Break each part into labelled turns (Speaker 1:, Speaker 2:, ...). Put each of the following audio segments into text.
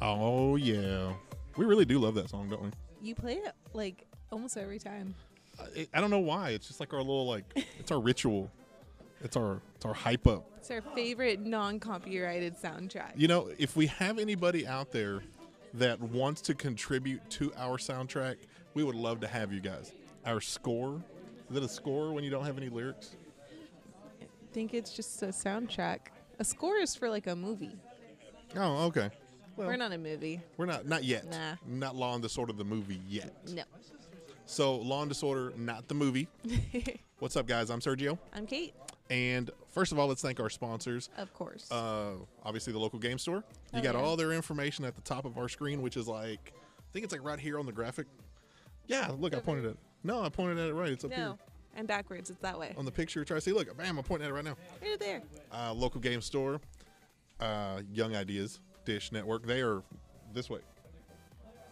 Speaker 1: Oh yeah, we really do love that song, don't we?
Speaker 2: You play it like almost every time.
Speaker 1: I, I don't know why. It's just like our little like it's our ritual. It's our it's our hype up.
Speaker 2: It's our favorite non-copyrighted soundtrack.
Speaker 1: You know, if we have anybody out there that wants to contribute to our soundtrack, we would love to have you guys. Our score is it a score when you don't have any lyrics?
Speaker 2: I think it's just a soundtrack. A score is for like a movie.
Speaker 1: Oh, okay. Well,
Speaker 2: We're not a movie.
Speaker 1: We're not not yet.
Speaker 2: Nah.
Speaker 1: Not Law and Disorder the movie yet.
Speaker 2: No.
Speaker 1: So Law and Disorder, not the movie. What's up, guys? I'm Sergio.
Speaker 2: I'm Kate,
Speaker 1: And first of all, let's thank our sponsors.
Speaker 2: of course.
Speaker 1: Uh, obviously, the local game store. You
Speaker 2: Oh,
Speaker 1: got
Speaker 2: yeah.
Speaker 1: all their information at the top of our screen, which is like, I think it's like right here on the graphic. Yeah, look, I
Speaker 2: Over.
Speaker 1: pointed at. No, I pointed at it right. It's up here
Speaker 2: no. And backwards, it's that way.
Speaker 1: on the picture. Try to see. Look, bam! I'm pointing at it right now.
Speaker 2: Right there.
Speaker 1: Uh, local game store, uh, Young Ideas, Dish Network. They are this way.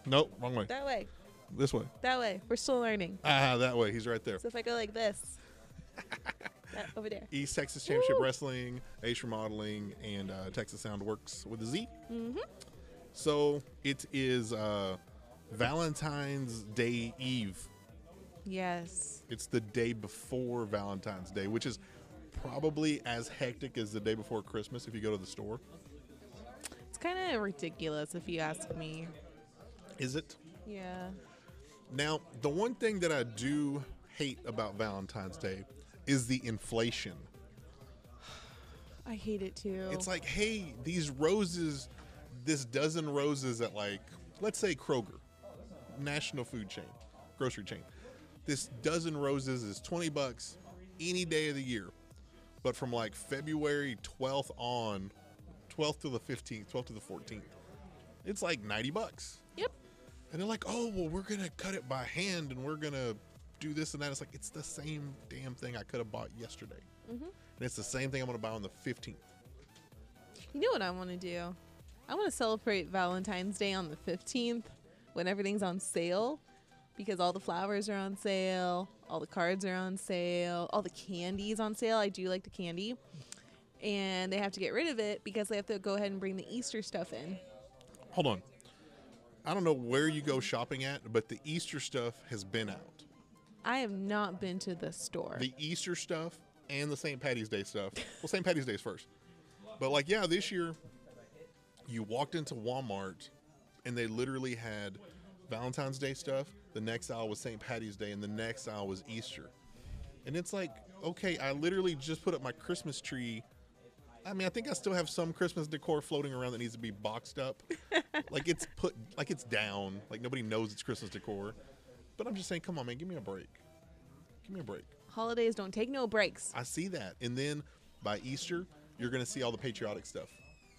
Speaker 1: Nope, wrong way.
Speaker 2: That way.
Speaker 1: This way.
Speaker 2: That way. We're still learning.
Speaker 1: Ah, that way. He's right there.
Speaker 2: So if I go like this, that, over there.
Speaker 1: East Texas Championship
Speaker 2: Woo!
Speaker 1: Wrestling, Ace Remodeling, and uh, Texas Sound Works with a Z. So it is uh, Valentine's Day Eve.
Speaker 2: Yes.
Speaker 1: It's the day before Valentine's Day, which is probably as hectic as the day before Christmas if you go to the store.
Speaker 2: It's kind of ridiculous if you ask me.
Speaker 1: Is it?
Speaker 2: Yeah.
Speaker 1: Now, the one thing that I do hate about Valentine's Day is the inflation.
Speaker 2: I hate it too.
Speaker 1: It's like, hey, these roses, this dozen roses at like, let's say Kroger, national food chain, grocery chain. This dozen roses is 20 bucks any day of the year. But from like February 12th on, 12th to the 15th, 12th to the 14th, it's like 90 bucks.
Speaker 2: yep.
Speaker 1: And they're like, oh, well, we're going to cut it by hand and we're going to do this and that. It's like, it's the same damn thing I could have bought yesterday. And it's the same thing I'm going to buy on the 15th.
Speaker 2: You know what I want to do? I want to celebrate Valentine's Day on the 15th when everything's on sale because all the flowers are on sale, all the cards are on sale, all the candy's on sale. I do like the candy. And they have to get rid of it because they have to go ahead and bring the Easter stuff in.
Speaker 1: Hold on. I don't know where you go shopping at, but the Easter stuff has been out.
Speaker 2: I have not been to the store.
Speaker 1: The Easter stuff and the St. Patty's Day stuff. Well, St. Patty's Day's first. But like, yeah, this year you walked into Walmart and they literally had Valentine's Day stuff. The next aisle was St. Patty's Day and the next aisle was Easter. And it's like, okay, I literally just put up my Christmas tree. I mean, I think I still have some Christmas decor floating around that needs to be boxed up. like it's put like it's down. Like nobody knows it's Christmas decor. But I'm just saying, come on, man, give me a break. Give me a break.
Speaker 2: Holidays don't take no breaks.
Speaker 1: I see that. And then by Easter, you're going to see all the patriotic stuff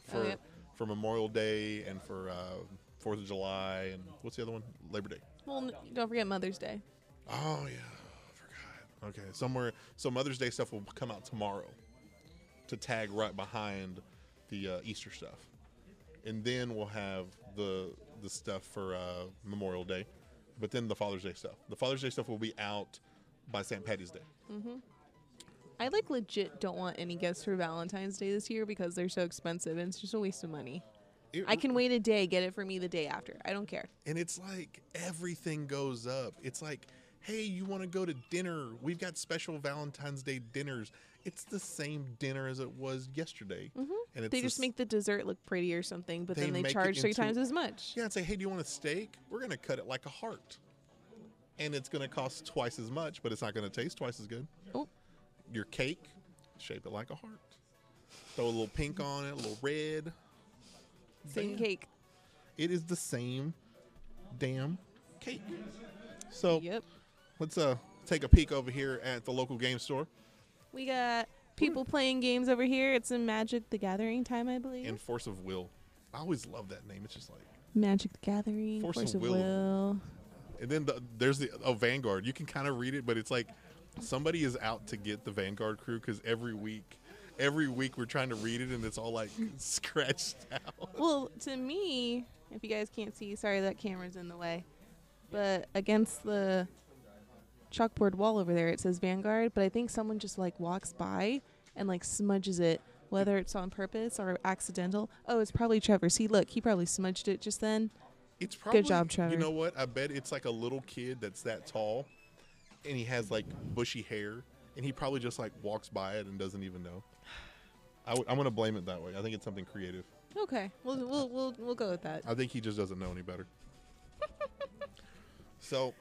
Speaker 1: for
Speaker 2: Oh, yep.
Speaker 1: for Memorial Day and for uh, Fourth of July and what's the other one? Labor Day.
Speaker 2: Well, n- don't forget Mother's Day.
Speaker 1: Oh yeah, I forgot. Okay, somewhere. So Mother's Day stuff will come out tomorrow to tag right behind the uh, Easter stuff, and then we'll have the the stuff for uh, Memorial Day, but then the Father's Day stuff. The Father's Day stuff will be out by St. Patty's Day.
Speaker 2: I like legit don't want any gifts for Valentine's Day this year because they're so expensive and it's just a waste of money.
Speaker 1: It-
Speaker 2: I can wait a day, get it for me the day after. I don't care.
Speaker 1: and it's like everything goes up. It's like, hey, you want to go to dinner? We've got special Valentine's Day dinners. It's the same dinner as it was yesterday, and it's
Speaker 2: Mm-hmm. They just
Speaker 1: this-
Speaker 2: make the dessert look pretty or something, but
Speaker 1: They
Speaker 2: then they
Speaker 1: make it
Speaker 2: charge three
Speaker 1: into-
Speaker 2: times as much.
Speaker 1: yeah, and say, hey, do you want a steak? We're gonna cut it like a heart, and it's gonna cost twice as much, but it's not gonna taste twice as good.
Speaker 2: Oh,
Speaker 1: Your cake, shape it like a heart. Throw a little pink on it, a little red.
Speaker 2: same
Speaker 1: Bam.
Speaker 2: cake.
Speaker 1: It is the same damn cake. So
Speaker 2: Yep.
Speaker 1: Let's uh take a peek over here at the local game store.
Speaker 2: We got people playing games over here. It's in Magic the Gathering time, I believe.
Speaker 1: And Force of Will. I always love that name. It's just like
Speaker 2: Magic the Gathering,
Speaker 1: Force
Speaker 2: Force,
Speaker 1: of
Speaker 2: of
Speaker 1: Will.
Speaker 2: Will.
Speaker 1: and then the, there's the oh Vanguard. You can kind of read it, but it's like somebody is out to get the Vanguard crew because every week every week we're trying to read it and it's all like scratched out.
Speaker 2: Well, to me, if you guys can't see, sorry that camera's in the way, but against the chalkboard wall over there, it says Vanguard, but I think someone just like walks by and like smudges it whether it's on purpose or accidental. Oh, it's probably Trevor. See, look, he probably smudged it just then.
Speaker 1: It's probably
Speaker 2: job, Trevor.
Speaker 1: You know what? I bet it's like a little kid that's that tall, and he has like bushy hair, and he probably just like walks by it and doesn't even know. I w- I'm gonna blame it that way. I think it's something creative.
Speaker 2: Okay, we'll we'll we'll, we'll go with that.
Speaker 1: I think he just doesn't know any better. so,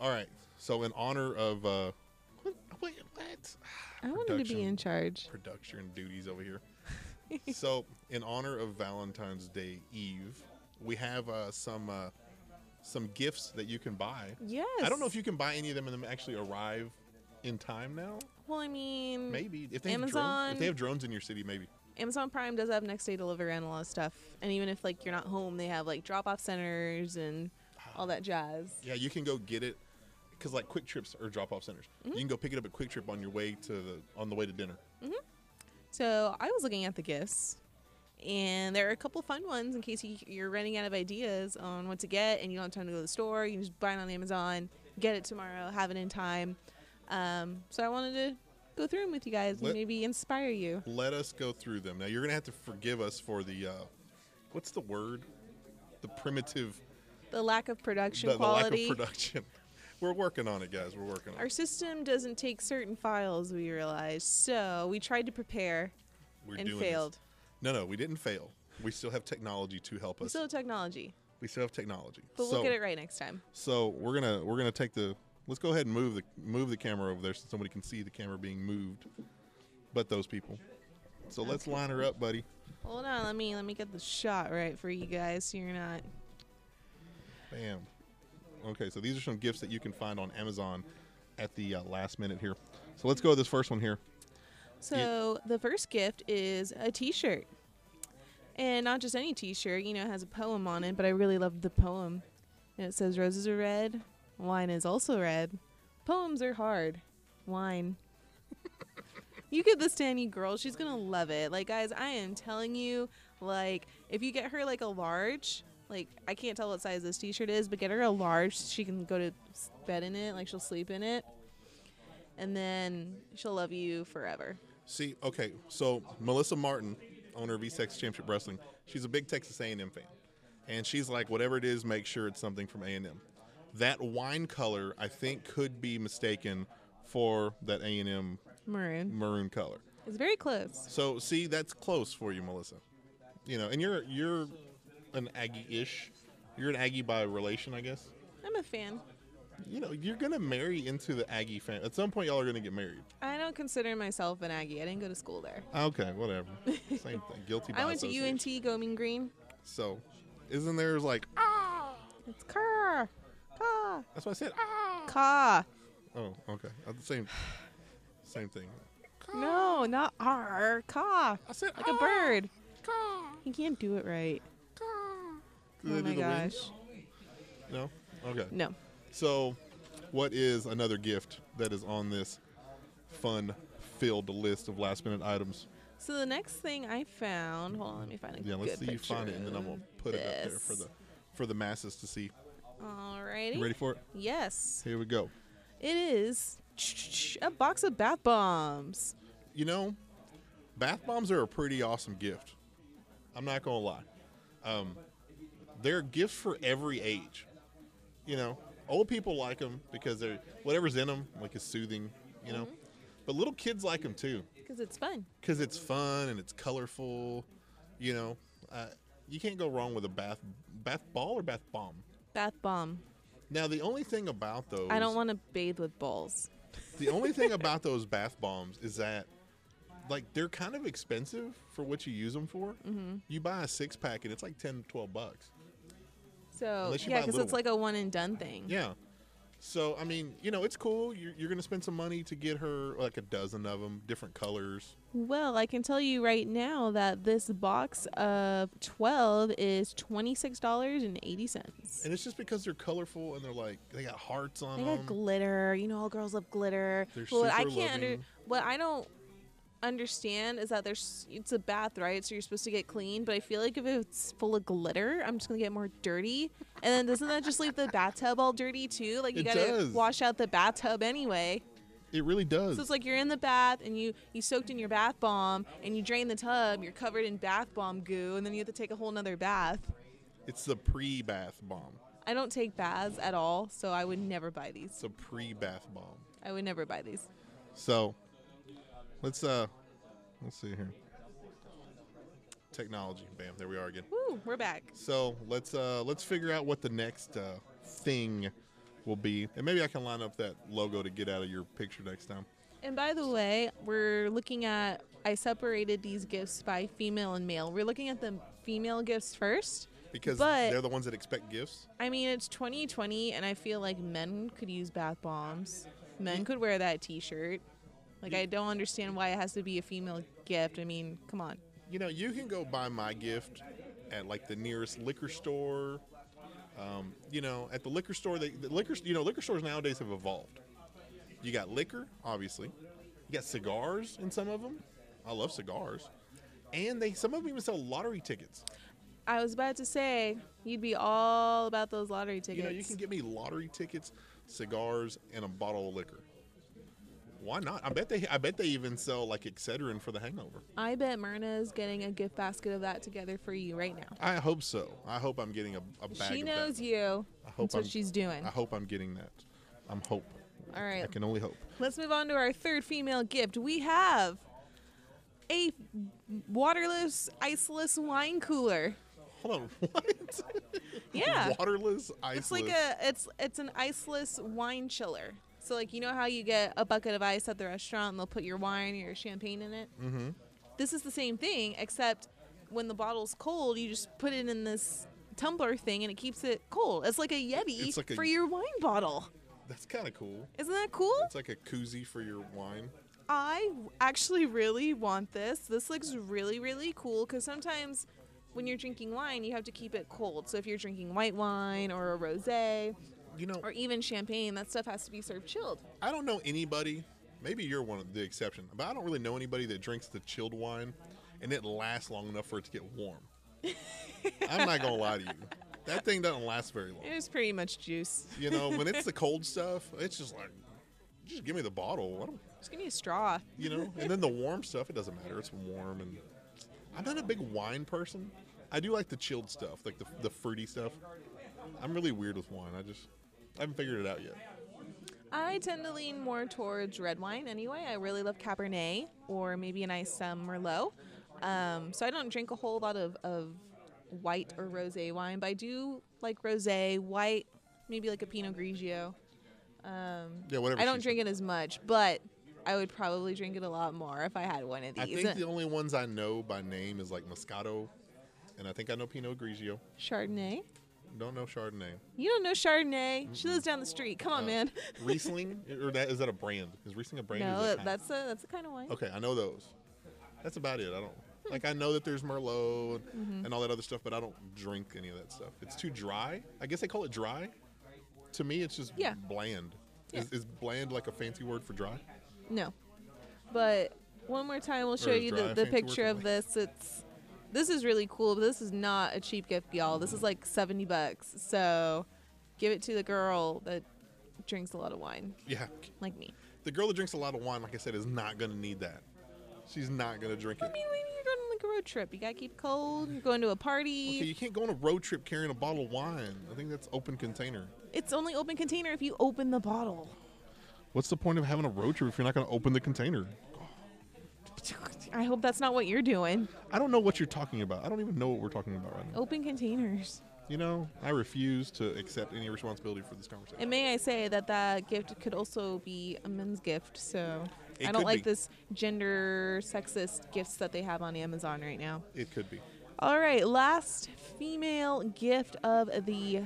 Speaker 1: all right. So in honor of uh, what? What? what?
Speaker 2: I wanted to be
Speaker 1: Production.
Speaker 2: in charge.
Speaker 1: production duties over here. so, in honor of Valentine's Day Eve, we have uh, some uh, some gifts that you can buy.
Speaker 2: Yes.
Speaker 1: I don't know if you can buy any of them and them actually arrive in time now.
Speaker 2: Well, I mean,
Speaker 1: Maybe if they have drones,
Speaker 2: Amazon.
Speaker 1: if they have drones in your city, maybe.
Speaker 2: Amazon Prime does have next day delivery and a lot of stuff. And even if like you're not home, they have like drop off centers and all that jazz.
Speaker 1: Yeah, you can go get it because like Quick Trips or drop off centers.
Speaker 2: Mm-hmm.
Speaker 1: You can go pick it up at Quick Trip on your way to the on the way to dinner.
Speaker 2: So I was looking at the gifts, and there are a couple fun ones in case you, you're running out of ideas on what to get and you don't have time to go to the store. You can just buy it on Amazon, get it tomorrow, have it in time. Um, so I wanted to go through them with you guys
Speaker 1: Let-
Speaker 2: and maybe inspire you.
Speaker 1: Let us go through them. Now you're gonna have to forgive us for the uh, what's the word? The primitive
Speaker 2: The lack of production
Speaker 1: the, the lack
Speaker 2: quality.
Speaker 1: of production. We're working on it, guys. We're working on
Speaker 2: Our
Speaker 1: it.
Speaker 2: system doesn't take certain files, we realized. So we tried to prepare
Speaker 1: We're
Speaker 2: and
Speaker 1: this.
Speaker 2: failed.
Speaker 1: No, no, we didn't fail. We still have technology to help
Speaker 2: We
Speaker 1: us.
Speaker 2: still have technology,
Speaker 1: we still have technology.
Speaker 2: but
Speaker 1: so,
Speaker 2: we'll get it right next time.
Speaker 1: so we're gonna we're gonna take the let's go ahead and move the move the camera over there so somebody can see the camera being moved. But those people. So let's line her up, buddy.
Speaker 2: Hold on, let me let me get the shot right for you guys, so you're not.
Speaker 1: Bam. Okay, so these are some gifts that you can find on Amazon at the uh, last minute here. So let's go with this first one here.
Speaker 2: So the first gift is a T-shirt, and not just any T-shirt. You know, it has a poem on it, but I really loved the poem, and it says, "Roses are red, wine is also red. Poems are hard, wine." you get this to any girl, she's gonna love it. Like, guys, I am telling you, like, if you get her like a large. Like I can't tell what size this T-shirt is, but get her a large. so She can go to s- bed in it, like she'll sleep in it, and then she'll love you forever.
Speaker 1: See, okay, so Melissa Martin, owner of East Texas Championship Wrestling, she's a big Texas A&M fan, and she's like, whatever it is, make sure it's something from A&M. That wine color, I think, could be mistaken for that A&M
Speaker 2: Maroon.
Speaker 1: maroon color.
Speaker 2: It's very close.
Speaker 1: So, see, that's close for you, Melissa. You know, and you're you're an Aggie-ish. You're an Aggie by relation, I guess.
Speaker 2: I'm a fan.
Speaker 1: You know, you're gonna marry into the Aggie fan. At some point, y'all are gonna get married.
Speaker 2: I don't consider myself an Aggie. I didn't go to school there.
Speaker 1: Okay, whatever. Same thing. Guilty. By
Speaker 2: I went to
Speaker 1: association.
Speaker 2: UNT Going Green.
Speaker 1: So, isn't there like ah,
Speaker 2: It's car. Ka.
Speaker 1: that's what I said. Ah.
Speaker 2: Ka.
Speaker 1: Oh, okay. Uh, the same same thing.
Speaker 2: No, not R. Ka.
Speaker 1: I said "Ah."
Speaker 2: Like a bird. You can't do it right.
Speaker 1: Do
Speaker 2: oh
Speaker 1: they do
Speaker 2: my
Speaker 1: the
Speaker 2: gosh.
Speaker 1: wings? No? Okay.
Speaker 2: No.
Speaker 1: So, what is another gift that is on this fun filled list of last minute items?
Speaker 2: So the next thing I found, hold on, let me find a
Speaker 1: Yeah, let's
Speaker 2: good
Speaker 1: see you find it and then I'm gonna
Speaker 2: picture of
Speaker 1: put it up there for
Speaker 2: this.
Speaker 1: the for the masses to see.
Speaker 2: Alrighty.
Speaker 1: You ready for it?
Speaker 2: Yes.
Speaker 1: Here we go.
Speaker 2: It is a box of bath bombs.
Speaker 1: you know, bath bombs are a pretty awesome gift. I'm not gonna lie. Um, they're gifts for every age. You know, old people like them because they're whatever's in them like is soothing. You
Speaker 2: Mm-hmm.
Speaker 1: know, but little kids like them too
Speaker 2: Because it's fun.
Speaker 1: because it's fun and it's colorful. You know, uh, you can't go wrong with a bath bath ball or bath bomb.
Speaker 2: Bath bomb.
Speaker 1: Now the only thing about those
Speaker 2: I don't want to bathe with balls.
Speaker 1: The only thing about those bath bombs is that, like, they're kind of expensive for what you use them for. Mm-hmm. You buy a six pack and it's like 10, 12 bucks.
Speaker 2: Mm-hmm. So
Speaker 1: Unless you
Speaker 2: yeah,
Speaker 1: buy
Speaker 2: because
Speaker 1: little
Speaker 2: it's like a one and done thing.
Speaker 1: Yeah. So, I mean, you know, it's cool. You're, you're going to spend some money to get her like a dozen of them, different colors.
Speaker 2: Well, I can tell you right now that this box of twelve is twenty six dollars and eighty cents.
Speaker 1: And it's just because they're colorful and they're like, they got hearts on
Speaker 2: They
Speaker 1: them.
Speaker 2: got glitter. You know, all girls love glitter.
Speaker 1: They're
Speaker 2: But what I
Speaker 1: super
Speaker 2: can't under,
Speaker 1: loving.
Speaker 2: what I don't understand is that there's it's a bath, right? So you're supposed to get clean. But I feel like if it's full of glitter, I'm just gonna get more dirty. And then doesn't that just leave the bathtub all dirty too? Like you
Speaker 1: It
Speaker 2: gotta
Speaker 1: does.
Speaker 2: wash out the bathtub anyway.
Speaker 1: It really does.
Speaker 2: So it's like you're in the bath and you you soaked in your bath bomb and you drain the tub. You're covered in bath bomb goo and then you have to take a whole nother bath.
Speaker 1: it's the pre-bath bomb.
Speaker 2: I don't take baths at all, so I would never buy
Speaker 1: It's
Speaker 2: these.
Speaker 1: a pre-bath bomb.
Speaker 2: I would never buy these.
Speaker 1: So let's uh let's see here. Technology. Bam, there we are again.
Speaker 2: Woo, we're back.
Speaker 1: So let's uh let's figure out what the next uh thing will be. And maybe I can line up that logo to get out of your picture next time.
Speaker 2: And by the way, we're looking at I separated these gifts by female and male. We're looking at the female gifts first.
Speaker 1: Because
Speaker 2: But-
Speaker 1: they're the ones that expect gifts.
Speaker 2: I mean, it's 2020 and I feel like men could use bath bombs. Men could wear that t-shirt. Like I don't understand why it has to be a female gift. I mean, come on.
Speaker 1: You know, you can go buy my gift at like the nearest liquor store. Um, you know, at the liquor store, they, the liquor, you know, liquor stores nowadays have evolved. You got liquor, obviously. You got cigars in some of them. I love cigars, and they some of them even sell lottery tickets.
Speaker 2: I was about to say you'd be all about those lottery tickets.
Speaker 1: You know, you can get me lottery tickets, cigars, and a bottle of liquor. Why not? I bet they, I bet they even sell like Excedrin for the hangover.
Speaker 2: I bet Myrna is getting a gift basket of that together for you right now.
Speaker 1: I hope so. I hope I'm getting a, a bag.
Speaker 2: She
Speaker 1: of that.
Speaker 2: knows you.
Speaker 1: I hope
Speaker 2: That's what
Speaker 1: I'm-
Speaker 2: she's doing.
Speaker 1: I hope I'm getting that. I'm hope.
Speaker 2: All right.
Speaker 1: I can only hope.
Speaker 2: Let's move on to our third female gift. We have a waterless, iceless wine cooler.
Speaker 1: Hold on. What?
Speaker 2: Yeah.
Speaker 1: Waterless, iceless.
Speaker 2: It's like a it's it's an iceless wine chiller. So like you know how you get a bucket of ice at the restaurant and they'll put your wine or your champagne in it? Mm-hmm. This is the same thing, except when the bottle's cold, you just put it in this tumbler thing and it keeps it cold. It's like a Yeti
Speaker 1: It's like a-
Speaker 2: for your wine bottle.
Speaker 1: That's kind of cool.
Speaker 2: Isn't that cool?
Speaker 1: It's like a koozie for your wine.
Speaker 2: I actually really want this. This looks really, really cool because sometimes when you're drinking wine, you have to keep it cold. So if you're drinking white wine or a rosé
Speaker 1: You know,
Speaker 2: or even champagne, that stuff has to be served chilled.
Speaker 1: I don't know anybody. Maybe you're one of the exception, but I don't really know anybody that drinks the chilled wine and it lasts long enough for it to get warm. I'm not gonna lie to you. That thing doesn't last very long.
Speaker 2: It was pretty much juice.
Speaker 1: You know, when it's the cold stuff, it's just like, just give me the bottle. I don't
Speaker 2: Just give me a straw.
Speaker 1: you know. And then the warm stuff, it doesn't matter. It's warm, and I'm not a big wine person. I do like the chilled stuff, like the the fruity stuff. I'm really weird with wine. I just I haven't figured it out yet.
Speaker 2: I tend to lean more towards red wine anyway. I really love Cabernet or maybe a nice um, Merlot. Um, so I don't drink a whole lot of, of white or rosé wine, but I do like rosé, white, maybe like a Pinot Grigio.
Speaker 1: Yeah, whatever.
Speaker 2: I
Speaker 1: she
Speaker 2: don't
Speaker 1: said.
Speaker 2: drink it as much, but I would probably drink it a lot more if I had one of
Speaker 1: I
Speaker 2: these.
Speaker 1: think the only ones I know by name is like Moscato, and I think I know Pinot Grigio.
Speaker 2: Chardonnay?
Speaker 1: Don't know Chardonnay.
Speaker 2: You don't know Chardonnay? She lives down the street. Come on,
Speaker 1: Uh,
Speaker 2: man.
Speaker 1: Riesling, or that is that a brand? Is Riesling a brand? or is
Speaker 2: no,
Speaker 1: it
Speaker 2: that-
Speaker 1: kind?
Speaker 2: that's a that's the kind of wine.
Speaker 1: Okay, I know those. That's about it. I don't
Speaker 2: Hmm.
Speaker 1: like. I know that there's Merlot and,
Speaker 2: Mm-hmm.
Speaker 1: and all that other stuff, but I don't drink any of that stuff. It's too dry. I guess they call it dry. To me, it's just
Speaker 2: Yeah.
Speaker 1: bland.
Speaker 2: Yeah.
Speaker 1: Is, is bland like a fancy word for dry?
Speaker 2: No, but one more time, we'll show
Speaker 1: is
Speaker 2: you
Speaker 1: dry
Speaker 2: the,
Speaker 1: a
Speaker 2: the
Speaker 1: fancy word
Speaker 2: picture
Speaker 1: for
Speaker 2: of
Speaker 1: white?
Speaker 2: this. It's this is really cool, but this is not a cheap gift, y'all. This is like seventy bucks. So give it to the girl that drinks a lot of wine,
Speaker 1: Yeah.
Speaker 2: like me.
Speaker 1: The girl that drinks a lot of wine, like I said, is not gonna need that. She's not gonna drink
Speaker 2: I
Speaker 1: it.
Speaker 2: mean, when you're going on like a road trip, you gotta keep it cold. You're going to a party.
Speaker 1: Okay, you can't go on a road trip carrying a bottle of wine. I think that's open container.
Speaker 2: It's only open container if you open the bottle.
Speaker 1: What's the point of having a road trip if you're not gonna open the container?
Speaker 2: I hope that's not what you're doing.
Speaker 1: I don't know what you're talking about. I don't even know what we're talking about right now.
Speaker 2: Open containers.
Speaker 1: You know, I refuse to accept any responsibility for this conversation.
Speaker 2: And may I say that that gift could also be a men's gift. So
Speaker 1: It
Speaker 2: I don't
Speaker 1: could
Speaker 2: like
Speaker 1: be.
Speaker 2: this gender sexist gifts that they have on Amazon right now.
Speaker 1: It could be.
Speaker 2: All right, last female gift of the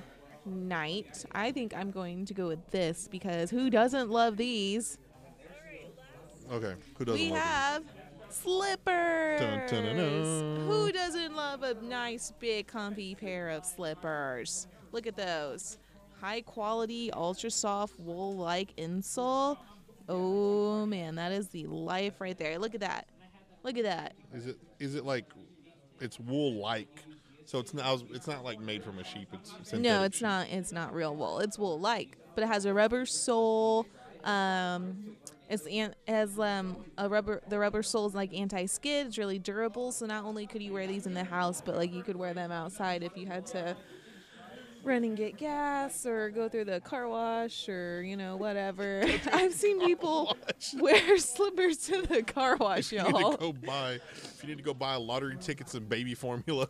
Speaker 2: night. I think I'm going to go with this because who doesn't love these?
Speaker 1: Okay. Who doesn't
Speaker 2: We
Speaker 1: love
Speaker 2: have slippers.
Speaker 1: Dun, dun, dun, dun.
Speaker 2: Who doesn't love a nice, big, comfy pair of slippers? Look at those. High quality, ultra soft, wool like insole. Oh man, that is the life right there. Look at that. Look at that.
Speaker 1: it? Is it is it like it's wool like? So it's not I was- it's not like made from a sheep. It's synthetic
Speaker 2: No, it's
Speaker 1: sheep.
Speaker 2: not. It's not real wool. It's wool like, but it has a rubber sole. Um, It's an, as um a rubber the rubber sole's like anti skid. It's really durable, so not only could you wear these in the house, but like you could wear them outside if you had to run and get gas or go through the car wash or you know whatever. I've seen people wear slippers to the car wash,
Speaker 1: If you need
Speaker 2: y'all.
Speaker 1: to go buy, if you need to go buy lottery tickets and baby formula,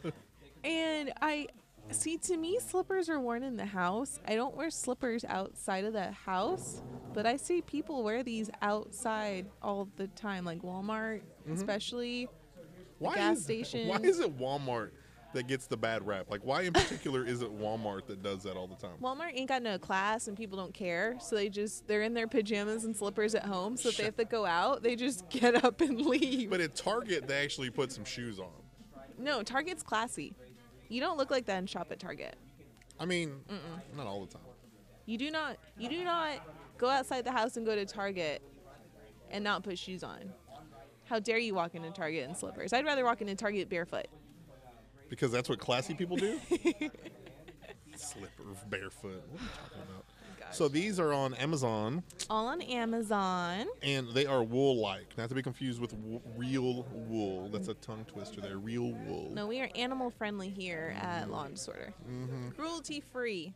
Speaker 2: And I see to me slippers are worn in the house. I don't wear slippers outside of the house, but I see people wear these outside all the time, like Walmart especially.
Speaker 1: why
Speaker 2: gas
Speaker 1: is
Speaker 2: station.
Speaker 1: why is it Walmart that gets the bad rap? Like, why in particular is it Walmart that does that all the time?
Speaker 2: Walmart ain't got no class and people don't care, so they just they're in their pajamas and slippers at home. So if they have to go out, they just get up and leave.
Speaker 1: But at Target, they actually put some shoes on.
Speaker 2: no, Target's classy. You don't look like that and shop at Target.
Speaker 1: I mean, not all the time.
Speaker 2: You do not you do not go outside the house and go to Target and not put shoes on. How dare you walk into Target in slippers? I'd rather walk into Target barefoot.
Speaker 1: Because that's what classy people do. Slipper, barefoot. What are you talking about? So these are on Amazon,
Speaker 2: All on Amazon.
Speaker 1: and they are wool-like. Not to be confused with w- real wool. That's a tongue twister. They're real wool.
Speaker 2: No, we are animal friendly here at Law and Disorder.
Speaker 1: Mm-hmm.
Speaker 2: Cruelty free.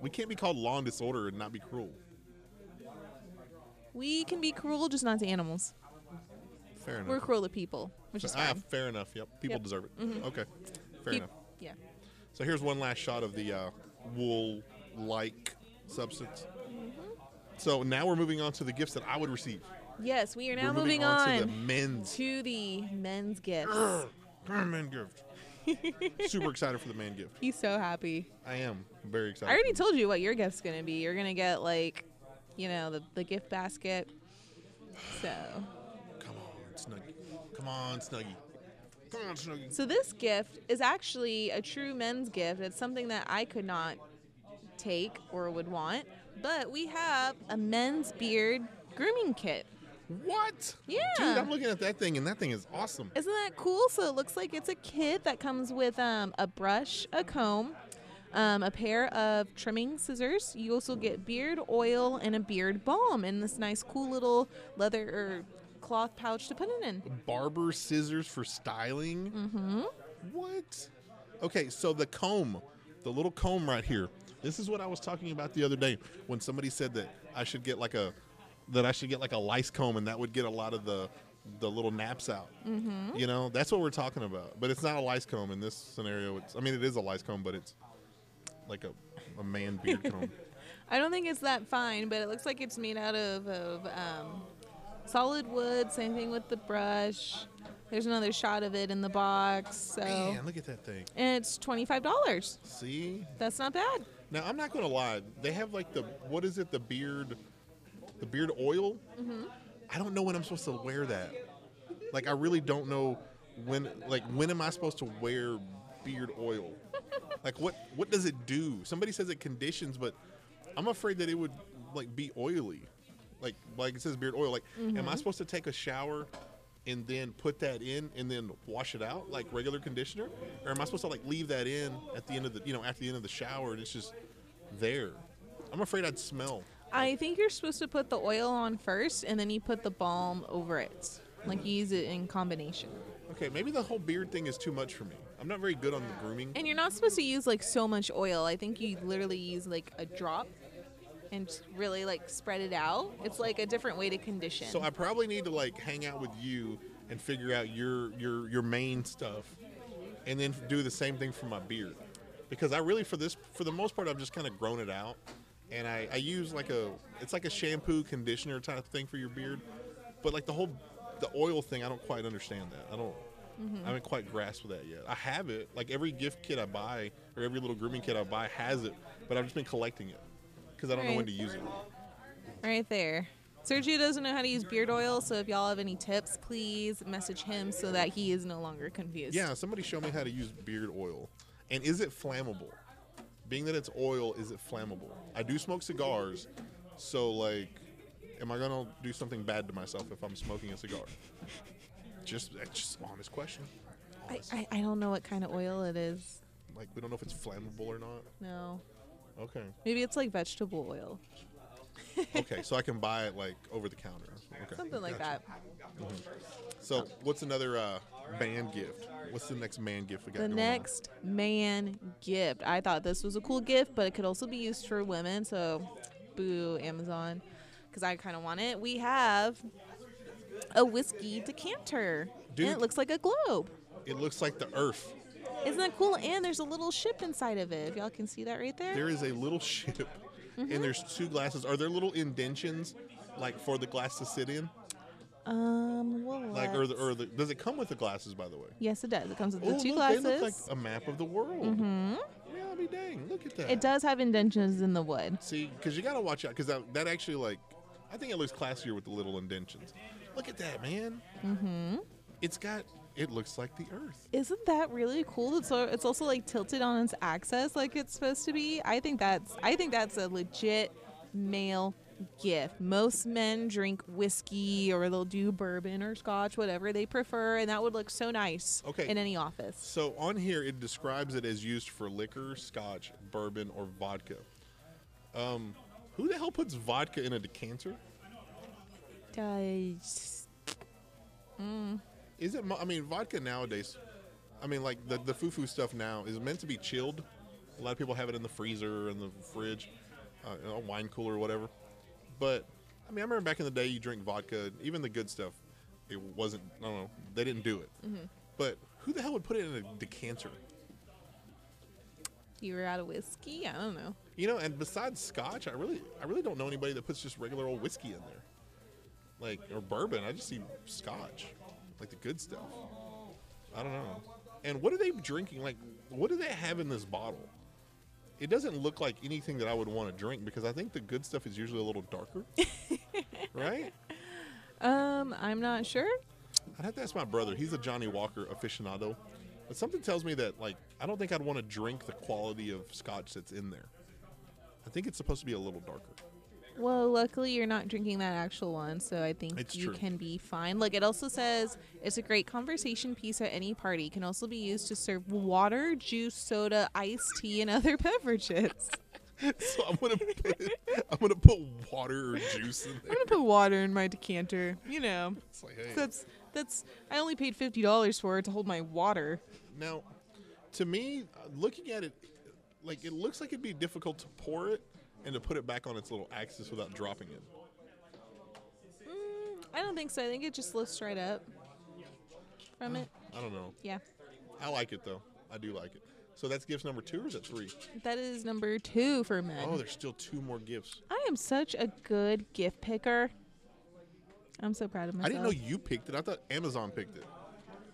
Speaker 1: We can't be called law and disorder and not be cruel.
Speaker 2: We can be cruel, just not to animals.
Speaker 1: Fair enough.
Speaker 2: We're cruel to people, which is
Speaker 1: ah,
Speaker 2: fine.
Speaker 1: fair enough. Yep. People
Speaker 2: Yep. Mm-hmm.
Speaker 1: deserve it. Okay. Fair
Speaker 2: Peop-
Speaker 1: enough.
Speaker 2: yeah.
Speaker 1: So here's one last shot of the uh, wool-like substance. So now we're moving on to the gifts that I would receive.
Speaker 2: Yes, we are now
Speaker 1: we're moving, on, to the men's
Speaker 2: to the men's gifts.
Speaker 1: man gift. Super excited for the man gift.
Speaker 2: He's so happy.
Speaker 1: I am very excited.
Speaker 2: I already told you what your gift's gonna be. You're gonna get like, you know, the, the gift basket. So,
Speaker 1: Come on, Snuggie. Come on, Snuggie. Come on, Snuggie.
Speaker 2: so this gift is actually a true men's gift. It's something that I could not take or would want, but we have a men's beard grooming kit.
Speaker 1: What?
Speaker 2: Yeah.
Speaker 1: Dude, I'm looking at that thing, and that thing is awesome.
Speaker 2: Isn't that cool? So it looks like it's a kit that comes with um, a brush, a comb, um, a pair of trimming scissors. You also get beard oil and a beard balm in this nice, cool little leather or cloth pouch to put it in.
Speaker 1: Barber scissors for styling. Mm-hmm. What? Okay, so the comb, the little comb right here. This is what I was talking about the other day when somebody said that I should get like a that I should get like a lice comb and that would get a lot of the the little naps out. Mm-hmm. You know, that's what we're talking about. But it's not a lice comb in this scenario. It's I mean it is a lice comb, but it's like a, a man beard comb.
Speaker 2: I don't think it's that fine, but it looks like it's made out of, of um, solid wood. Same thing with the brush. There's another shot of it in the box. So.
Speaker 1: Man, look at that thing.
Speaker 2: And it's $25.
Speaker 1: See?
Speaker 2: That's not bad.
Speaker 1: Now I'm not gonna lie. They have like the what is it? The beard, the beard oil. I don't know when I'm supposed to wear that. Like I really don't know when. Like when am I supposed to wear beard oil? like what what does it do? Somebody says it conditions, but I'm afraid that it would like be oily. Like like it says beard oil. Like am I supposed to take a shower? And then put that in, and then wash it out like regular conditioner, or am I supposed to like leave that in at the end of the you know after the end of the shower and it's just there? I'm afraid I'd smell.
Speaker 2: I think you're supposed to put the oil on first and then you put the balm over it. Like you use it in combination.
Speaker 1: Okay, maybe the whole beard thing is too much for me. I'm not very good on the grooming.
Speaker 2: And you're not supposed to use like so much oil. I think you literally use like a drop and just really like spread it out. It's like a different way to condition.
Speaker 1: So I probably need to like hang out with you and figure out your your your main stuff, and then do the same thing for my beard, because I really for this for the most part I've just kind of grown it out, and I I use like a it's like a shampoo conditioner type thing for your beard, but like the whole the oil thing I don't quite understand that I don't. I haven't quite grasped that yet. I have it. Like every gift kit I buy, or every little grooming kit I buy, has it. But I've just been collecting it because I don't know when
Speaker 2: Right.
Speaker 1: to use it.
Speaker 2: right there. Sergio doesn't know how to use beard oil, so if y'all have any tips, please message him so that he is no longer confused.
Speaker 1: Yeah, somebody show me how to use beard oil. And is it flammable? Being that it's oil, is it flammable? I do smoke cigars, so like, am I gonna do something bad to myself if I'm smoking a cigar? just, that's just honest question.
Speaker 2: I,
Speaker 1: Honest.
Speaker 2: I, I don't know what kind of oil it is.
Speaker 1: like, we don't know if it's flammable or not.
Speaker 2: No.
Speaker 1: Okay.
Speaker 2: Maybe it's like vegetable oil.
Speaker 1: okay, so I can buy it like over the counter. Okay.
Speaker 2: Something like
Speaker 1: Gotcha.
Speaker 2: that.
Speaker 1: So what's another uh, band gift? What's the next man gift we got?
Speaker 2: The
Speaker 1: going on?
Speaker 2: next man gift. I thought this was a cool gift, but it could also be used for women. So, boo, Amazon, because I kind of want it. We have a whiskey decanter, and
Speaker 1: Dude.
Speaker 2: it looks like a globe.
Speaker 1: It looks like the Earth.
Speaker 2: Isn't that cool? And there's a little ship inside of it. If y'all can see that right there.
Speaker 1: There is a little ship, and there's two glasses. Are there little indentions, like for the glass to sit in?
Speaker 2: um, well,
Speaker 1: Like, or the,
Speaker 2: let's-
Speaker 1: or the, does it come with the glasses? By the way.
Speaker 2: yes, it does. It comes with
Speaker 1: Oh,
Speaker 2: the two
Speaker 1: look,
Speaker 2: glasses.
Speaker 1: they look like a map of the world. Mm-hmm. Yeah, I mean, dang, look at that.
Speaker 2: it does have indentions in the wood.
Speaker 1: See, because you gotta watch out, because that, that actually like, I think it looks classier with the little indentions. Look at that, man. Mm-hmm. It's got. It looks like the Earth.
Speaker 2: Isn't that really cool? It's so it's also like tilted on its axis like it's supposed to be. I think that's I think that's a legit male gift. Most men drink whiskey or they'll do bourbon or scotch, whatever they prefer, and that would look so nice
Speaker 1: Okay.
Speaker 2: in any office.
Speaker 1: So on here, it describes it as used for liquor, scotch, bourbon, or vodka. Um, who the hell puts vodka in a decanter?
Speaker 2: Does
Speaker 1: Is it? mo- I mean, vodka nowadays. I mean, like the the foo foo stuff now is meant to be chilled. A lot of people have it in the freezer or in the fridge, uh, in a wine cooler or whatever. But I mean, I remember back in the day, you drink vodka, even the good stuff. It wasn't. I don't know. They didn't do it. But who the hell would put it in a decanter?
Speaker 2: you were out of whiskey? I don't know.
Speaker 1: You know, and besides scotch, I really, I really don't know anybody that puts just regular old whiskey in there, like or bourbon. I just see scotch, like the good stuff. I don't know. And what are they drinking? Like, what do they have in this bottle? It doesn't look like anything that I would want to drink because I think the good stuff is usually a little darker, right?
Speaker 2: Um, I'm not sure.
Speaker 1: I'd have to ask my brother. He's a Johnny Walker aficionado, but something tells me that like I don't think I'd want to drink the quality of scotch that's in there. I think it's supposed to be a little darker.
Speaker 2: Well, luckily you're not drinking that actual one, so I think
Speaker 1: It's
Speaker 2: you
Speaker 1: true.
Speaker 2: can be fine. Look, it also says it's a great conversation piece at any party. Can also be used to serve water, juice, soda, iced tea, and other beverages.
Speaker 1: So I'm gonna put I'm gonna put water or juice in
Speaker 2: I'm
Speaker 1: there.
Speaker 2: gonna put water in my decanter. You know,
Speaker 1: It's like, hey.
Speaker 2: that's that's. I only paid fifty dollars for it to hold my water.
Speaker 1: Now, to me, uh, looking at it, like it looks like it'd be difficult to pour it and to put it back on its little axis without dropping it.
Speaker 2: I don't think so. I think it just lifts right up from it.
Speaker 1: I don't know.
Speaker 2: Yeah,
Speaker 1: I like it though. I do like it. So that's gift number two, or is that three?
Speaker 2: that is number two for men.
Speaker 1: Oh, there's still two more gifts.
Speaker 2: I am such a good gift picker. I'm so proud of myself.
Speaker 1: I didn't know you picked it. I thought Amazon picked it.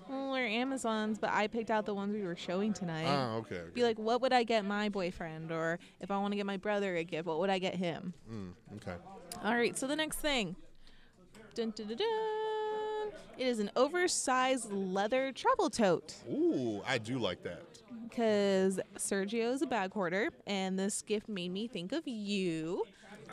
Speaker 2: Well, we're Amazons, but I picked out the ones we were showing tonight.
Speaker 1: Oh, okay. okay.
Speaker 2: Be like, what would I get my boyfriend? Or if I want to get my brother a gift, what would I get him?
Speaker 1: okay.
Speaker 2: All right, so the next thing. Dun, dun, dun, dun. It is an oversized leather travel tote
Speaker 1: Ooh, I do like that.
Speaker 2: because Sergio is a bag hoarder, and this gift made me think of you.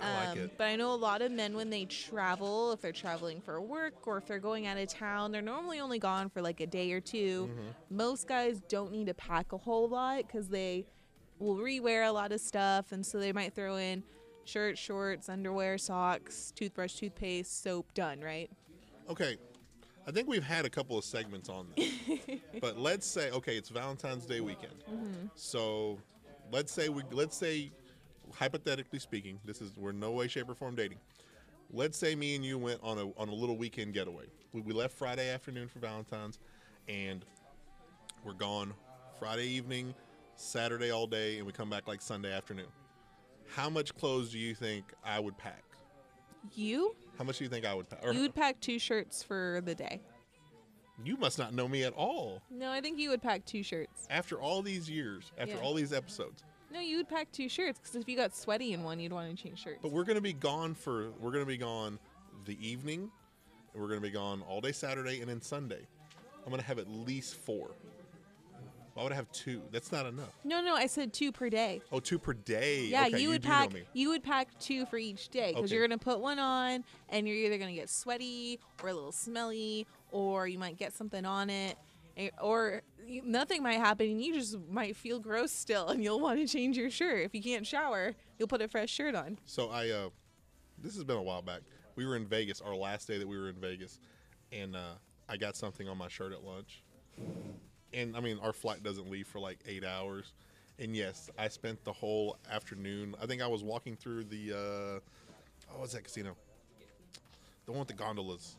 Speaker 2: Um,
Speaker 1: I like it.
Speaker 2: But I know a lot of men, when they travel, if they're traveling for work or if they're going out of town, they're normally only gone for like a day or 2
Speaker 1: Mm-hmm.
Speaker 2: Most guys don't need to pack a whole lot because they will rewear a lot of stuff, and so they might throw in shirts, shorts, underwear, socks, toothbrush, toothpaste, soap. Done, right?
Speaker 1: Okay. I think we've had a couple of segments on this. but let's say okay, it's Valentine's Day weekend. So let's say we let's say hypothetically speaking, this is we're in no way shape or form dating. Let's say me and you went on a on a little weekend getaway. We, we left Friday afternoon for Valentine's and we're gone Friday evening, Saturday all day and we come back like Sunday afternoon. How much clothes do you think I would pack?
Speaker 2: You
Speaker 1: How much do you think I would pack? Or-
Speaker 2: you would pack two shirts for the day.
Speaker 1: You must not know me at all.
Speaker 2: No, I think you would pack two shirts.
Speaker 1: After all these years, after
Speaker 2: Yeah.
Speaker 1: all these episodes,
Speaker 2: No, you would pack two shirts because if you got sweaty in one, you'd want to change shirts.
Speaker 1: but we're gonna be gone for we're gonna be gone the evening, and we're gonna be gone all day Saturday and then Sunday. I'm gonna have at least four. Why would I have two? That's not enough.
Speaker 2: no, no, I said two per day.
Speaker 1: Oh, two per day.
Speaker 2: Yeah,
Speaker 1: okay,
Speaker 2: you would
Speaker 1: do know
Speaker 2: pack
Speaker 1: me.
Speaker 2: you would pack two for each day because
Speaker 1: Okay.
Speaker 2: you're gonna put one on and you're either gonna get sweaty or a little smelly or you might get something on it a- or you, nothing might happen and you just might feel gross still and you'll want to change your shirt if you can't shower you'll put a fresh shirt on
Speaker 1: So I uh, this has been a while back. We were in Vegas, our last day that we were in Vegas, and uh, I got something on my shirt at lunch. And I mean, our flight doesn't leave for like eight hours. And yes, I spent the whole afternoon. I think I was walking through the, uh, oh, what's that casino? The one with the gondolas.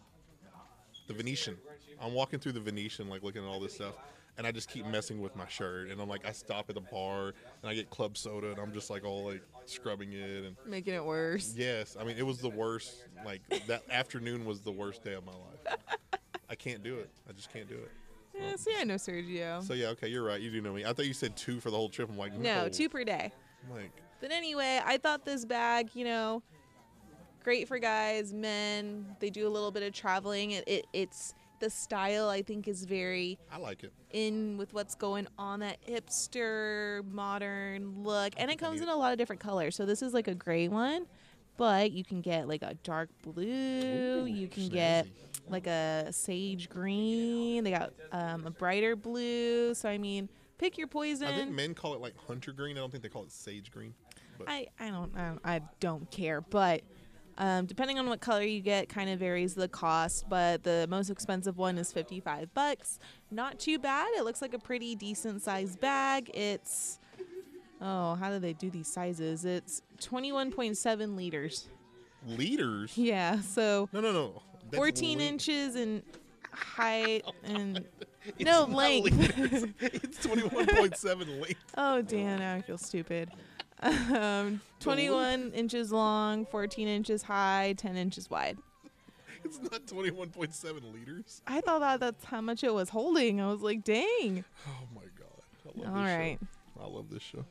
Speaker 1: The Venetian. I'm walking through the Venetian, like looking at all this stuff, and I just keep messing with my shirt. And I'm like, I stop at a bar and I get club soda, and I'm just like all like scrubbing it. And
Speaker 2: Making it worse.
Speaker 1: yes, I mean, it was the worst. Like that afternoon was the worst day of my life. I can't do it. I just can't do it.
Speaker 2: Yeah, see, I know Sergio.
Speaker 1: So yeah, okay, you're right. You do know me. I thought you said two for the whole trip. I'm like, no,
Speaker 2: no, two per day.
Speaker 1: I'm like,
Speaker 2: But anyway, I thought this bag, you know, great for guys, men. They do a little bit of traveling. It, it it's the style I think is very
Speaker 1: I like it.
Speaker 2: in with what's going on that hipster modern look, and it comes in a lot of different colors. So this is like a gray one, but you can get like a dark blue.
Speaker 1: Ooh,
Speaker 2: you can get
Speaker 1: snazzy.
Speaker 2: like a sage green. They got um, a brighter blue. So I mean, pick your poison.
Speaker 1: I think men call it like hunter green. I don't think they call it sage green. But
Speaker 2: I, I don't I don't, I don't care, but um, depending on what color you get, kind of varies the cost. But the most expensive one is fifty five bucks. Not too bad. It looks like a pretty decent sized bag. It's oh, how do they do these sizes? It's twenty one point seven liters.
Speaker 1: leaders?
Speaker 2: Yeah, so
Speaker 1: No, no, no. That's
Speaker 2: fourteen
Speaker 1: li-
Speaker 2: inches in height and no
Speaker 1: It's not
Speaker 2: length.
Speaker 1: liters. it's twenty one point seven length.
Speaker 2: Oh, Dan, now I feel stupid. Um, 21 inches long, 14 inches high, 10 inches wide.
Speaker 1: It's not twenty one point seven liters.
Speaker 2: I thought that that's how much it was holding. I was like, dang.
Speaker 1: Oh my god. I love
Speaker 2: All
Speaker 1: this
Speaker 2: right.
Speaker 1: show. I love this show.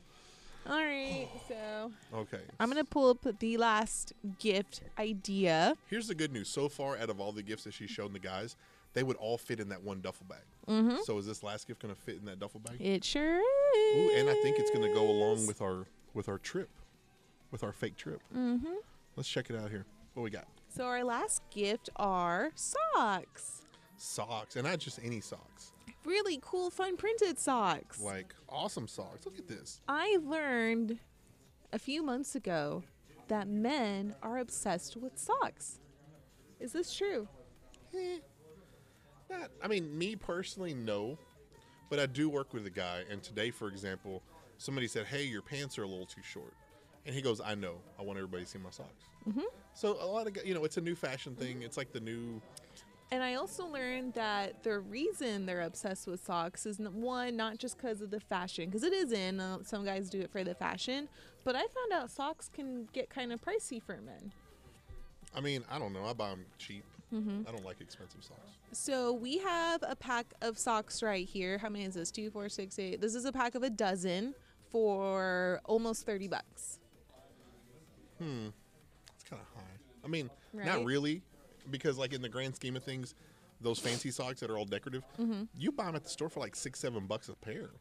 Speaker 2: All right. So
Speaker 1: Okay.
Speaker 2: I'm going to pull up the last gift idea.
Speaker 1: Here's the good news. So far, out of all the gifts that she's shown the guys, they would all fit in that one duffel bag. So is this last gift going to fit in that duffel bag?
Speaker 2: It sure
Speaker 1: Ooh,
Speaker 2: is.
Speaker 1: and I think it's going to go along with our with our trip, with our fake trip. Mm-hmm. Let's check it out here. What we got?
Speaker 2: So our last gift are socks.
Speaker 1: Socks, and not just any socks.
Speaker 2: Really cool, fun printed socks.
Speaker 1: Like awesome socks. Look at this.
Speaker 2: I learned a few months ago that men are obsessed with socks. Is this true?
Speaker 1: Eh, not, I mean, me personally, no. But I do work with a guy, and today, for example, somebody said, "Hey, your pants are a little too short," and he goes, "I know. I want everybody to see my socks." Mm-hmm. So a lot of gu- you know, it's a new fashion thing. It's like the new
Speaker 2: And I also learned that the reason they're obsessed with socks is n- one, not just because of the fashion, because it is in, uh, some guys do it for the fashion, but I found out socks can get kind of pricey for men.
Speaker 1: I mean, I don't know. I buy them cheap.
Speaker 2: Mm-hmm.
Speaker 1: I don't like expensive socks.
Speaker 2: So we have a pack of socks right here. How many is this? Two, four, six, eight. This is a pack of a dozen for almost 30 bucks.
Speaker 1: It's kind of high. I mean,
Speaker 2: Right.
Speaker 1: not really, because like in the grand scheme of things, those fancy socks that are all decorative,
Speaker 2: Mm-hmm.
Speaker 1: you buy them at the store for like six, seven bucks a pair.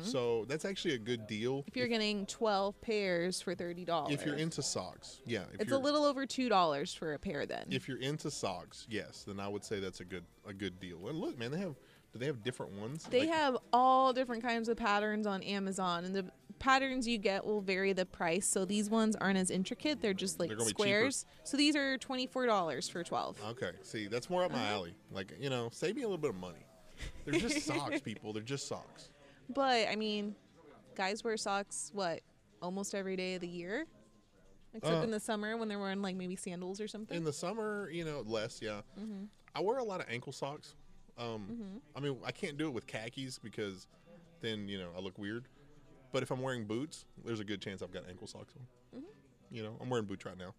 Speaker 1: So that's actually a good deal
Speaker 2: If you're getting 12 pairs for $30.
Speaker 1: if you're into socks. Yeah, if
Speaker 2: It's a
Speaker 1: you're,
Speaker 2: little over $2 for a pair then.
Speaker 1: If you're into socks, yes, then I would say that's a good a good deal. And look, man, they have do they have different ones?
Speaker 2: They
Speaker 1: Like,
Speaker 2: have all different kinds of patterns on Amazon, and the patterns you get will vary the price. So these ones aren't as intricate; they're just like
Speaker 1: They're gonna be cheaper. Uh-huh.
Speaker 2: squares. So these are twenty four dollars for twelve.
Speaker 1: Okay, see, that's more up my
Speaker 2: Uh-huh.
Speaker 1: alley. Like you know, save me a little bit of money. They're just socks, people. They're just socks.
Speaker 2: But I mean, guys wear socks what almost every day of the year, except
Speaker 1: Uh,
Speaker 2: in the summer when they're wearing like maybe sandals or something.
Speaker 1: in the summer, you know, less. Yeah, I wear a lot of ankle socks. Um, I mean, I can't do it with khakis because then you know I look weird. But if I'm wearing boots, there's a good chance I've got ankle socks on. You know, I'm wearing boots right now.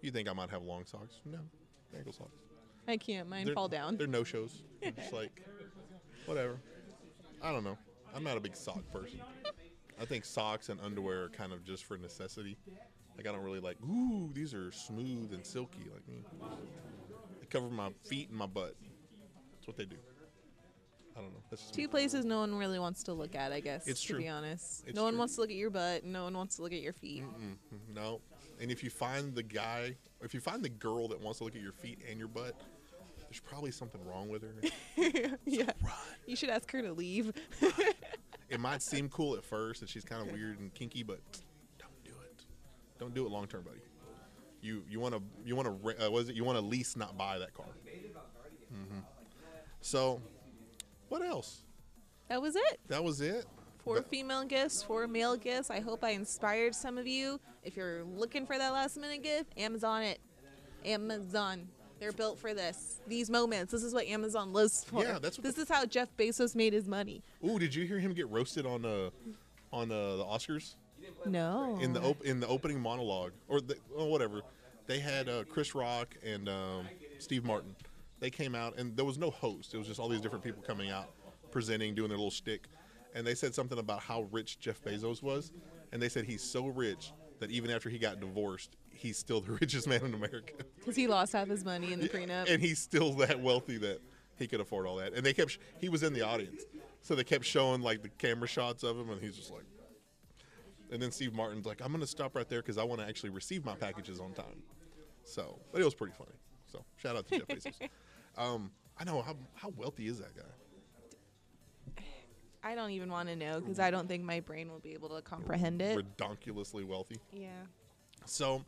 Speaker 1: You think I might have long socks? No, ankle socks.
Speaker 2: I can't. Mine
Speaker 1: They're-
Speaker 2: fall down.
Speaker 1: They're no shows. Just like whatever. I don't know. I'm not a big sock person. I think socks and underwear are kind of just for necessity. Like I don't really like. Ooh, these are smooth and silky. Like me. They cover my feet and my butt. That's what they do. I don't know. That's just me.
Speaker 2: Two places no one really wants to look at, I guess.
Speaker 1: It's
Speaker 2: to
Speaker 1: true.
Speaker 2: be honest,
Speaker 1: It's
Speaker 2: no one
Speaker 1: true.
Speaker 2: wants to look at your butt. and No one wants to look at your feet.
Speaker 1: No. And if you find the guy, if you find the girl that wants to look at your feet and your butt, there's probably something wrong with her.
Speaker 2: yeah,
Speaker 1: Run.
Speaker 2: you should ask her to leave.
Speaker 1: it might seem cool at first and she's kind of weird and kinky, but don't do it. Don't do it long term, buddy. You you want to you want to uh, what is it? You want to lease, not buy that car. hmm So, what else?
Speaker 2: That was it.
Speaker 1: That was it.
Speaker 2: Four
Speaker 1: Th-
Speaker 2: female guests, four male guests. I hope I inspired some of you. If you're looking for that last minute gift, Amazon it. Amazon. They're built for this. These moments. This is what Amazon lives for.
Speaker 1: Yeah, that's what
Speaker 2: this is how Jeff Bezos made his money.
Speaker 1: Ooh, did you hear him get roasted on uh on uh, the Oscars
Speaker 2: No.
Speaker 1: in the op- in the opening monologue or the, oh, whatever? They had uh, Chris Rock and um, Steve Martin. They came out and there was no host. It was just all these different people coming out, presenting, doing their little shtick, and they said something about how rich Jeff Bezos was, and they said he's so rich that even after he got divorced, he's still the richest man in America.
Speaker 2: Because he lost half his money in the prenup.
Speaker 1: and he's still that wealthy that he could afford all that. And they kept sh- he was in the audience, so they kept showing like the camera shots of him, and he's just like. And then Steve Martin's like, "I'm gonna stop right there because I want to actually receive my packages on time." So, but it was pretty funny. So, shout out to Jeff Bezos. Um, I know how how wealthy is that guy?
Speaker 2: I don't even want to know because I don't think my brain will be able to comprehend it.
Speaker 1: Redonkulously wealthy.
Speaker 2: Yeah.
Speaker 1: So,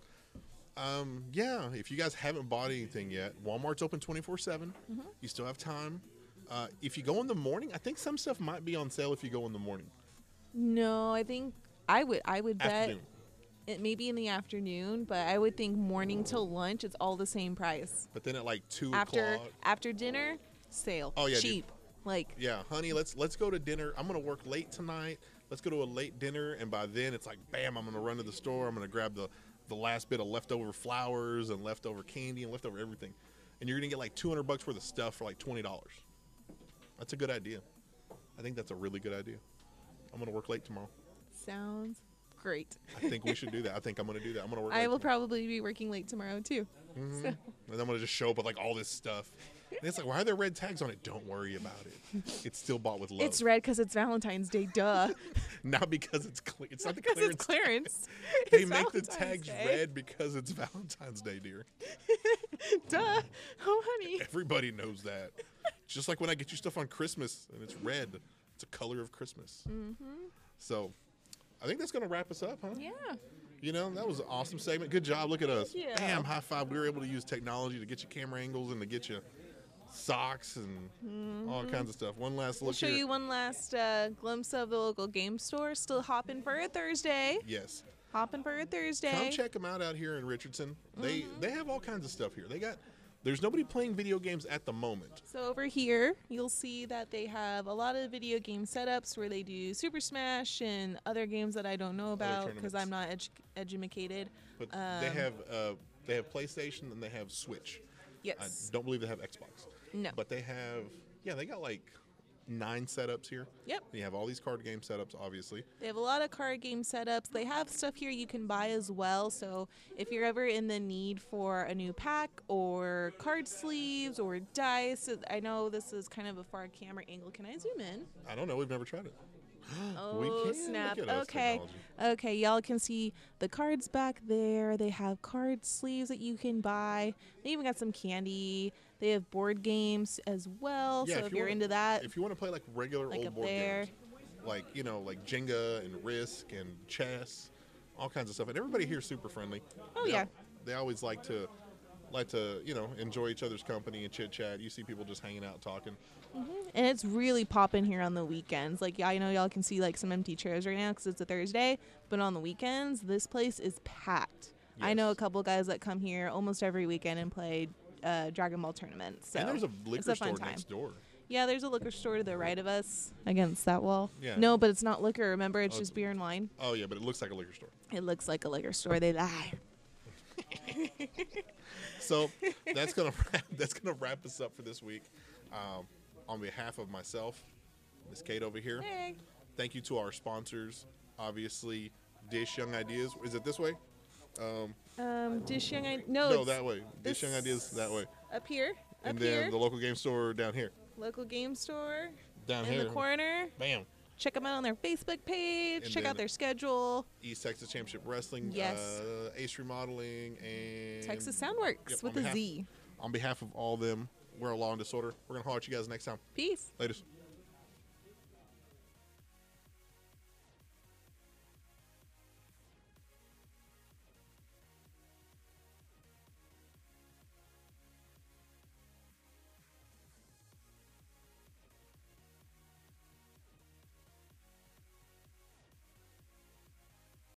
Speaker 1: um, yeah, if you guys haven't bought anything yet, Walmart's open 24 7. You still have time. Uh, if you go in the morning, I think some stuff might be on sale if you go in the morning.
Speaker 2: No, I think I would. I would bet
Speaker 1: Afternoon.
Speaker 2: it may be in the afternoon, but I would think morning till lunch. It's all the same price.
Speaker 1: But then at like 2
Speaker 2: after
Speaker 1: o'clock.
Speaker 2: after dinner sale.
Speaker 1: Oh, yeah, dude.
Speaker 2: cheap. Like
Speaker 1: Yeah, honey, let's let's go to dinner. I'm gonna work late tonight. Let's go to a late dinner, and by then it's like, bam! I'm gonna run to the store. I'm gonna grab the the last bit of leftover flowers and leftover candy and leftover everything, and you're gonna get like 200 bucks worth of stuff for like twenty dollars. That's a good idea. I think that's a really good idea. I'm gonna work late tomorrow.
Speaker 2: sounds great.
Speaker 1: I think we should do that. I think I'm gonna do that. I'm gonna work.
Speaker 2: I
Speaker 1: late
Speaker 2: will
Speaker 1: tomorrow.
Speaker 2: probably be working late tomorrow too. So,
Speaker 1: And I'm gonna just show up with like all this stuff. And it's like, why are there red tags on it? Don't worry about it. It's still bought with love.
Speaker 2: it's red because it's Valentine's Day. Duh.
Speaker 1: not because it's clear. It's not the
Speaker 2: Because
Speaker 1: clearance.
Speaker 2: it's clearance.
Speaker 1: They
Speaker 2: It's
Speaker 1: make the
Speaker 2: Valentine's
Speaker 1: tags
Speaker 2: Day.
Speaker 1: red because it's Valentine's Day, dear.
Speaker 2: Duh. Oh honey.
Speaker 1: Everybody knows that. Just like when I get you stuff on Christmas and it's red, it's a color of Christmas. Mm-hmm. So, I think that's gonna wrap us up, huh?
Speaker 2: Yeah.
Speaker 1: You know, that was an awesome segment. Good job. Look at us.
Speaker 2: Thank you.
Speaker 1: Bam, high five. We were able to use technology to get you camera angles and to get you socks and all kinds of stuff. One last
Speaker 2: Mm-hmm. We'll
Speaker 1: look
Speaker 2: show
Speaker 1: here.
Speaker 2: you one last uh, glimpse of the local game store. Still hopping for a Thursday.
Speaker 1: yes.
Speaker 2: Hopping for a Thursday.
Speaker 1: Come check them out out here in Richardson. They
Speaker 2: Mm-hmm.
Speaker 1: they have all kinds of stuff here. They got there's nobody playing video games at the moment.
Speaker 2: So over here, you'll see that they have a lot of video game setups where they do Super Smash and other games that I don't know about because I'm not edu- educated.
Speaker 1: But
Speaker 2: Um,
Speaker 1: they have uh, they have PlayStation and they have Switch. I
Speaker 2: yes,
Speaker 1: don't believe they have Xbox.
Speaker 2: No.
Speaker 1: But they have yeah, they got like nine setups here.
Speaker 2: Yep.
Speaker 1: And you have all these card game setups, obviously.
Speaker 2: they have a lot of card game setups. They have stuff here you can buy as well. So if you're ever in the need for a new pack or card sleeves or dice, I know this is kind of a far camera angle. Can I zoom in?
Speaker 1: I don't know, we've never tried it. We
Speaker 2: Oh
Speaker 1: can.
Speaker 2: snap!
Speaker 1: Look at us,
Speaker 2: Okay,
Speaker 1: technology.
Speaker 2: okay, y'all can see the cards back there. They have card sleeves that you can buy. They even got some candy. They have board games as well.
Speaker 1: Yeah,
Speaker 2: so if, you're
Speaker 1: wanna-
Speaker 2: into that,
Speaker 1: if you want to play like regular
Speaker 2: Like
Speaker 1: old
Speaker 2: up
Speaker 1: board
Speaker 2: there.
Speaker 1: games, like you know, like Jenga and Risk and chess, all kinds of stuff. And everybody here is super friendly.
Speaker 2: Oh,
Speaker 1: They al-
Speaker 2: yeah.
Speaker 1: they always like to like to you know enjoy each other's company and chit chat. You see people just hanging out talking.
Speaker 2: and it's really popping here on the weekends. Like yeah, I know y'all can see like some empty chairs right now because it's a Thursday. But on the weekends, this place is packed. I know
Speaker 1: Yes.
Speaker 2: a couple guys that come here almost every weekend and play uh, Dragon Ball tournaments. So
Speaker 1: and there's a
Speaker 2: it's
Speaker 1: liquor
Speaker 2: a
Speaker 1: store
Speaker 2: fun time.
Speaker 1: next door.
Speaker 2: Yeah, there's a liquor store to the right of us against that wall.
Speaker 1: Yeah.
Speaker 2: No, but it's not liquor. Remember, it's
Speaker 1: Oh,
Speaker 2: just
Speaker 1: it's-
Speaker 2: beer and wine.
Speaker 1: Oh yeah, but it looks like a liquor store.
Speaker 2: It looks like a liquor store. They lie.
Speaker 1: So that's gonna wrap, that's gonna wrap us up for this week. Um, on behalf of myself, Miss Kate over here.
Speaker 2: Hey.
Speaker 1: Thank you to our sponsors, obviously Dish Young Ideas. Is it this way?
Speaker 2: Um, Dish Young. I no.
Speaker 1: No,
Speaker 2: it's
Speaker 1: that way. Dish
Speaker 2: this-
Speaker 1: Young Ideas that way.
Speaker 2: Up here. Up
Speaker 1: and then
Speaker 2: here.
Speaker 1: the local game store down here.
Speaker 2: local game store.
Speaker 1: Down
Speaker 2: in
Speaker 1: here.
Speaker 2: the corner.
Speaker 1: Bam.
Speaker 2: Check them out on their Facebook page.
Speaker 1: And
Speaker 2: Check
Speaker 1: then-
Speaker 2: out their schedule.
Speaker 1: East Texas Championship Wrestling.
Speaker 2: Yes.
Speaker 1: Uh, Ace Remodeling and
Speaker 2: Texas Soundworks
Speaker 1: Yep,
Speaker 2: with
Speaker 1: on
Speaker 2: a
Speaker 1: behalf-
Speaker 2: Z.
Speaker 1: On behalf of all them, we're a law and disorder. We're gonna holler at you guys next time.
Speaker 2: Peace.
Speaker 1: Latest.